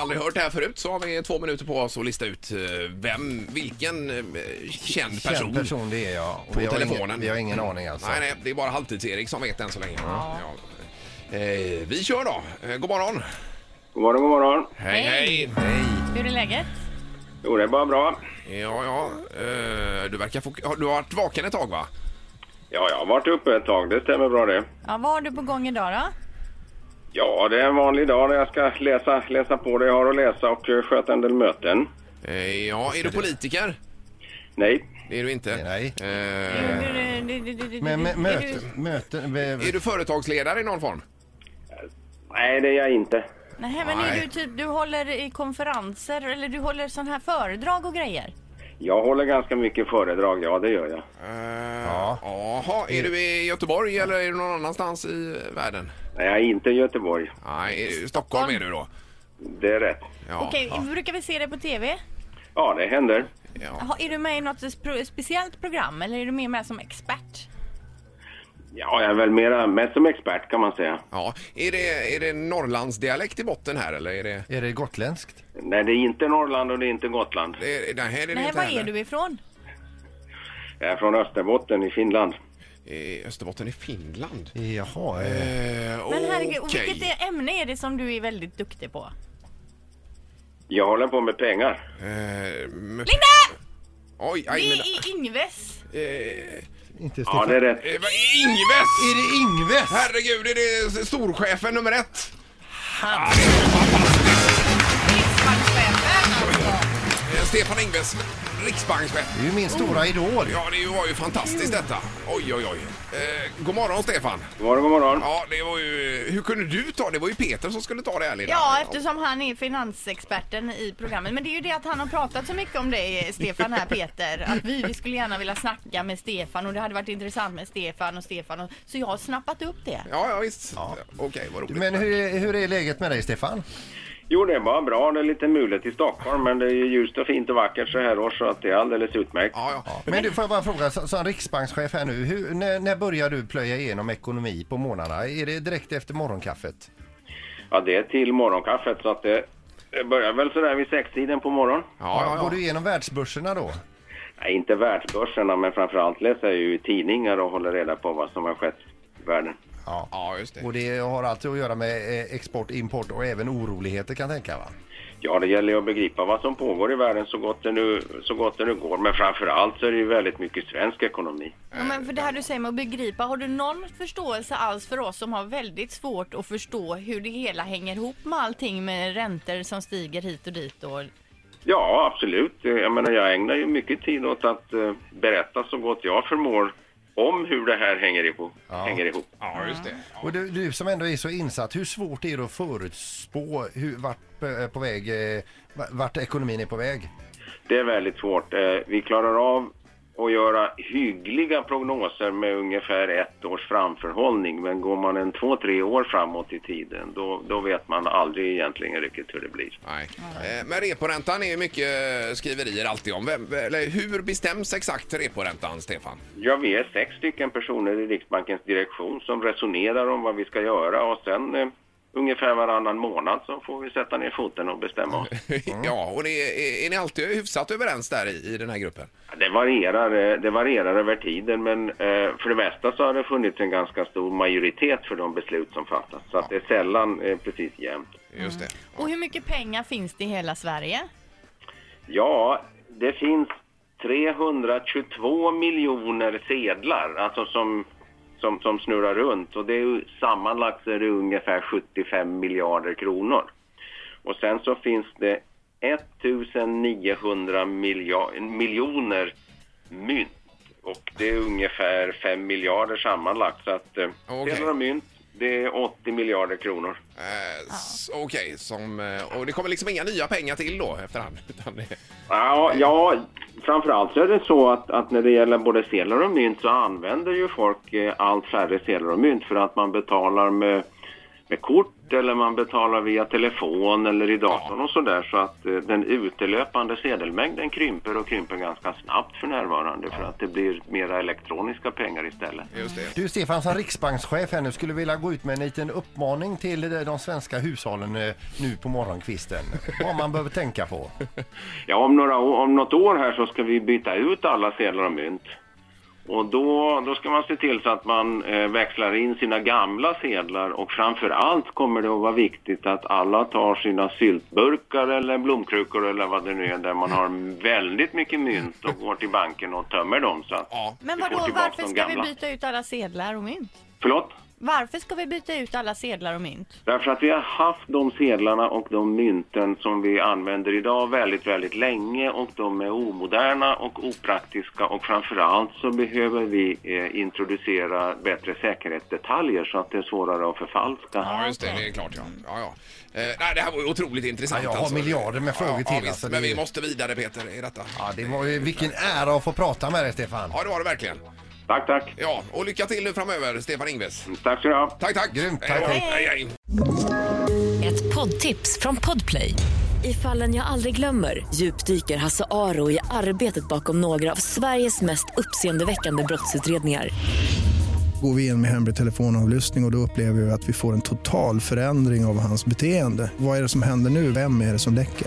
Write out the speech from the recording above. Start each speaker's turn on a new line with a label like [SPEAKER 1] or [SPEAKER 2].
[SPEAKER 1] aldrig hört det här förut så har vi två minuter på oss att lista ut eh, vem, vilken eh, känd person.
[SPEAKER 2] Känd person det är jag. Och
[SPEAKER 1] På
[SPEAKER 2] vi, har
[SPEAKER 1] telefonen.
[SPEAKER 2] Ingen, vi har ingen aning alltså.
[SPEAKER 1] Nej, nej, det är bara halvtids-Erik som vet än så länge. Ja. Eh, vi kör då. Eh, god morgon.
[SPEAKER 3] God morgon, god morgon.
[SPEAKER 1] Hej, hej.
[SPEAKER 4] Hej. Hur är läget?
[SPEAKER 3] Jo, det är bara bra.
[SPEAKER 1] Ja, ja. Eh, du verkar fok- har- Du har varit vaken ett tag, va?
[SPEAKER 3] Ja, jag har varit uppe ett tag. Det stämmer bra det.
[SPEAKER 4] Ja, vad har du på gång idag då?
[SPEAKER 3] Ja, det är en vanlig dag där jag ska läsa, läsa på det jag har att läsa och eh, sköta en del möten.
[SPEAKER 1] Eh, ja, är du politiker?
[SPEAKER 3] Nej,
[SPEAKER 1] Det är du inte.
[SPEAKER 2] Nej.
[SPEAKER 1] Eh,
[SPEAKER 2] Men mö-
[SPEAKER 4] Är du-
[SPEAKER 2] möten, möten,
[SPEAKER 1] är du företagsledare i någon form?
[SPEAKER 3] nej det är jag inte.
[SPEAKER 4] Nej, men är
[SPEAKER 1] Nej.
[SPEAKER 4] du typ, du håller i konferenser eller du håller sådana här föredrag och grejer?
[SPEAKER 3] Jag håller ganska mycket föredrag, ja det gör jag.
[SPEAKER 1] Eh,
[SPEAKER 2] Ja.
[SPEAKER 1] Jaha, är du i Göteborg eller är du någon annanstans i världen?
[SPEAKER 3] Nej, jag är inte i Göteborg.
[SPEAKER 1] Nej, i Stockholm är du då.
[SPEAKER 3] Det är rätt.
[SPEAKER 1] Ja.
[SPEAKER 4] Okej, brukar vi se det på TV?
[SPEAKER 3] Ja, det händer.
[SPEAKER 1] Ja.
[SPEAKER 4] Ha, är du med i något spro- speciellt program eller är du med, med som expert?
[SPEAKER 3] Ja, jag är väl mera, mest som expert kan man säga.
[SPEAKER 1] Ja. Är, det, är det Norrlandsdialekt i botten här eller? Är det,
[SPEAKER 2] Är det gotländskt?
[SPEAKER 3] Nej, det är inte Norrland och det är inte Gotland.
[SPEAKER 1] är, nej, det är det
[SPEAKER 4] Nej,
[SPEAKER 1] inte
[SPEAKER 4] var
[SPEAKER 1] heller.
[SPEAKER 4] är du ifrån?
[SPEAKER 3] Jag är från Österbotten i Finland.
[SPEAKER 1] I Österbotten i Finland.
[SPEAKER 2] Jaha. Eh.
[SPEAKER 1] Eh,
[SPEAKER 4] Men herregud, och
[SPEAKER 1] okej.
[SPEAKER 4] vilket är- ämne är det som du är väldigt duktig på?
[SPEAKER 3] Jag håller på med pengar.
[SPEAKER 1] Eh, men-
[SPEAKER 4] Linda!
[SPEAKER 1] Oj,
[SPEAKER 4] Det
[SPEAKER 1] aj, men,
[SPEAKER 4] är Yngves!
[SPEAKER 1] eh,
[SPEAKER 2] Inte
[SPEAKER 3] Ja,
[SPEAKER 2] Stefan.
[SPEAKER 3] det är rätt.
[SPEAKER 1] eh, vad- Ingves!
[SPEAKER 2] Är det Ingves?
[SPEAKER 1] Herregud, är det storchefen nummer ett?
[SPEAKER 4] Riksbankschefen alltså!
[SPEAKER 1] Eh, Stefan Ingves, riksbankschef.
[SPEAKER 2] Det är ju min stora idol.
[SPEAKER 1] Ja, det var ju fantastiskt detta. Oj, oj, oj. Eh, god morgon, Stefan.
[SPEAKER 3] God morgon, god morgon.
[SPEAKER 1] Ja, det var ju... Hur kunde du ta det? var ju Peter som skulle ta det här lilla.
[SPEAKER 4] Ja, eftersom han är finansexperten i programmet. Men det är ju det att han har pratat så mycket om dig, Stefan här, Peter. Att vi, vi skulle gärna vilja snacka med Stefan och det hade varit intressant med Stefan och Stefan. Och, så jag har snappat upp det.
[SPEAKER 1] Ja, ja visst. Okej, vad roligt.
[SPEAKER 2] Men hur, är- hur är läget med dig Stefan?
[SPEAKER 3] Jo, det är bara bra. Det är lite mulet i Stockholm, men det är ju ljust och fint och vackert så här års så att det är alldeles utmärkt.
[SPEAKER 1] Ja, ja.
[SPEAKER 2] Men du får jag bara fråga, så- som riksbankschef här nu, hur, när, när börjar du plöja igenom ekonomi på morgnarna? Är det direkt efter morgonkaffet?
[SPEAKER 3] Ja, det är till morgonkaffet så att det, det börjar väl sådär vid sextiden på morgonen.
[SPEAKER 1] Ja,
[SPEAKER 2] Går
[SPEAKER 1] ja,
[SPEAKER 2] du igenom världsbörserna då?
[SPEAKER 3] Nej, inte världsbörserna, men framförallt läser jag ju tidningar och håller reda på vad som har skett i världen.
[SPEAKER 1] ja. just det.
[SPEAKER 2] Och det har alltid att göra med eh, export, import och även oroligheter kan jag tänka va?
[SPEAKER 3] Ja, det gäller ju att begripa vad som pågår i världen så gott det nu, så gott det nu går, men framförallt så är det ju väldigt mycket svensk ekonomi.
[SPEAKER 4] Ja, men för det här du säger med att begripa, har du någon förståelse alls för oss som har väldigt svårt att förstå hur det hela hänger ihop med allting med räntor som stiger hit och dit? Och...
[SPEAKER 3] Ja, absolut. Jag menar, jag ägnar ju mycket tid åt att eh, berätta så gott jag förmår om hur det här hänger ihop. Hänger ihop.
[SPEAKER 1] Ja, just det. Ja.
[SPEAKER 2] Och du, du som ändå är så insatt, hur svårt är det att förutspå hur, vart, eh, på väg, eh, vart ekonomin är på väg?
[SPEAKER 3] Det är väldigt svårt. Eh, Vi klarar av att göra hyggliga prognoser med ungefär ett års framförhållning. Men går man en två, tre år framåt i tiden, då, då vet man aldrig egentligen riktigt hur det blir.
[SPEAKER 1] Nej. Eh, Men reporäntan är ju mycket eh, skriverier alltid om. Vem, eller hur bestäms exakt reporäntan, Stefan?
[SPEAKER 3] Ja, vi är sex stycken personer i Riksbankens direktion som resonerar om vad vi ska göra och sen eh, ungefär varannan månad så får vi sätta ner foten och bestämma oss.
[SPEAKER 2] Mm.
[SPEAKER 1] ja, och det, är, är ni alltid hyfsat överens där i, i den här gruppen?
[SPEAKER 3] Det varierar, eh, det varierar över tiden men eh, för det mesta så har det funnits en ganska stor majoritet för de beslut som fattas. Så att det är sällan eh, precis jämnt.
[SPEAKER 1] Just det.
[SPEAKER 4] och hur mycket pengar finns det i hela Sverige?
[SPEAKER 3] Ja, det finns 322 miljoner sedlar alltså som, som, som snurrar runt och det är ju, sammanlagt så är det ungefär 75 miljarder kronor. Och sen så finns det 1900 milja- miljoner mynt och det är ungefär 5 miljarder sammanlagt så att eh,
[SPEAKER 1] Okej.
[SPEAKER 3] sedlar och mynt det är 80 miljarder kronor.
[SPEAKER 1] Eh, s- Okej, som, eh, och det kommer liksom inga nya pengar till då efterhand? Utan det,
[SPEAKER 3] Ja, ja framförallt så är det så att, att när det gäller både sedlar och mynt så använder ju folk eh, allt färre sedlar och mynt för att man betalar med med kort eller man betalar via telefon eller i datorn och sådär så att eh, den utelöpande sedelmängden krymper och krymper ganska snabbt för närvarande för att det blir mera elektroniska pengar istället.
[SPEAKER 1] Just det.
[SPEAKER 2] Du Stefan som riksbankschef här nu skulle vilja gå ut med en liten uppmaning till eh, de svenska hushållen eh, nu på morgonkvisten. Vad man behöver tänka på.
[SPEAKER 3] Ja, om, några, å- om något år här så ska vi byta ut alla sedlar och mynt. Och då, då ska man se till så att man eh, växlar in sina gamla sedlar och framför allt kommer det att vara viktigt att alla tar sina syltburkar eller blomkrukor eller vad det nu är där man har väldigt mycket mynt och går till banken och tömmer dem så att
[SPEAKER 1] Ja.
[SPEAKER 4] Men
[SPEAKER 3] vi får
[SPEAKER 4] vadå,
[SPEAKER 3] tillbaka
[SPEAKER 4] varför
[SPEAKER 3] de
[SPEAKER 4] ska vi
[SPEAKER 3] gamla.
[SPEAKER 4] byta ut alla sedlar och mynt?
[SPEAKER 3] Förlåt?
[SPEAKER 4] Varför ska vi byta ut alla sedlar och mynt?
[SPEAKER 3] Därför att vi har haft de sedlarna och de mynten som vi använder idag väldigt, väldigt länge och de är omoderna och opraktiska och framförallt så behöver vi eh, introducera bättre säkerhetsdetaljer så att det är svårare att förfalska.
[SPEAKER 1] Ja, just det. Det är klart, ja. ja, ja. Eh, nej, det här var ju otroligt intressant. alltså.
[SPEAKER 2] Ja, jag har miljarder med frågor till,
[SPEAKER 1] visst,
[SPEAKER 2] alltså.
[SPEAKER 1] men
[SPEAKER 2] Det-
[SPEAKER 1] vi måste vidare, Peter, i detta.
[SPEAKER 2] Ja, det var ju, vilken ära att få prata med dig Stefan.
[SPEAKER 1] Ja, det var det verkligen.
[SPEAKER 3] Tack, tack.
[SPEAKER 1] Ja, och lycka till nu framöver, Stefan Ingves.
[SPEAKER 3] Tack så du ha.
[SPEAKER 1] Tack, tack!
[SPEAKER 2] Grymt, tack.
[SPEAKER 1] Hej, då.
[SPEAKER 2] Hej.
[SPEAKER 1] hej, hej.
[SPEAKER 5] Ett poddtips från Podplay. I fallen jag aldrig glömmer djupdyker Hasse Aro i arbetet bakom några av Sveriges mest uppseendeväckande brottsutredningar.
[SPEAKER 6] Går vi in med hemlig telefonavlyssning och, och då upplever vi att vi får en total förändring av hans beteende. Vad är det som händer nu? Vem är det som läcker?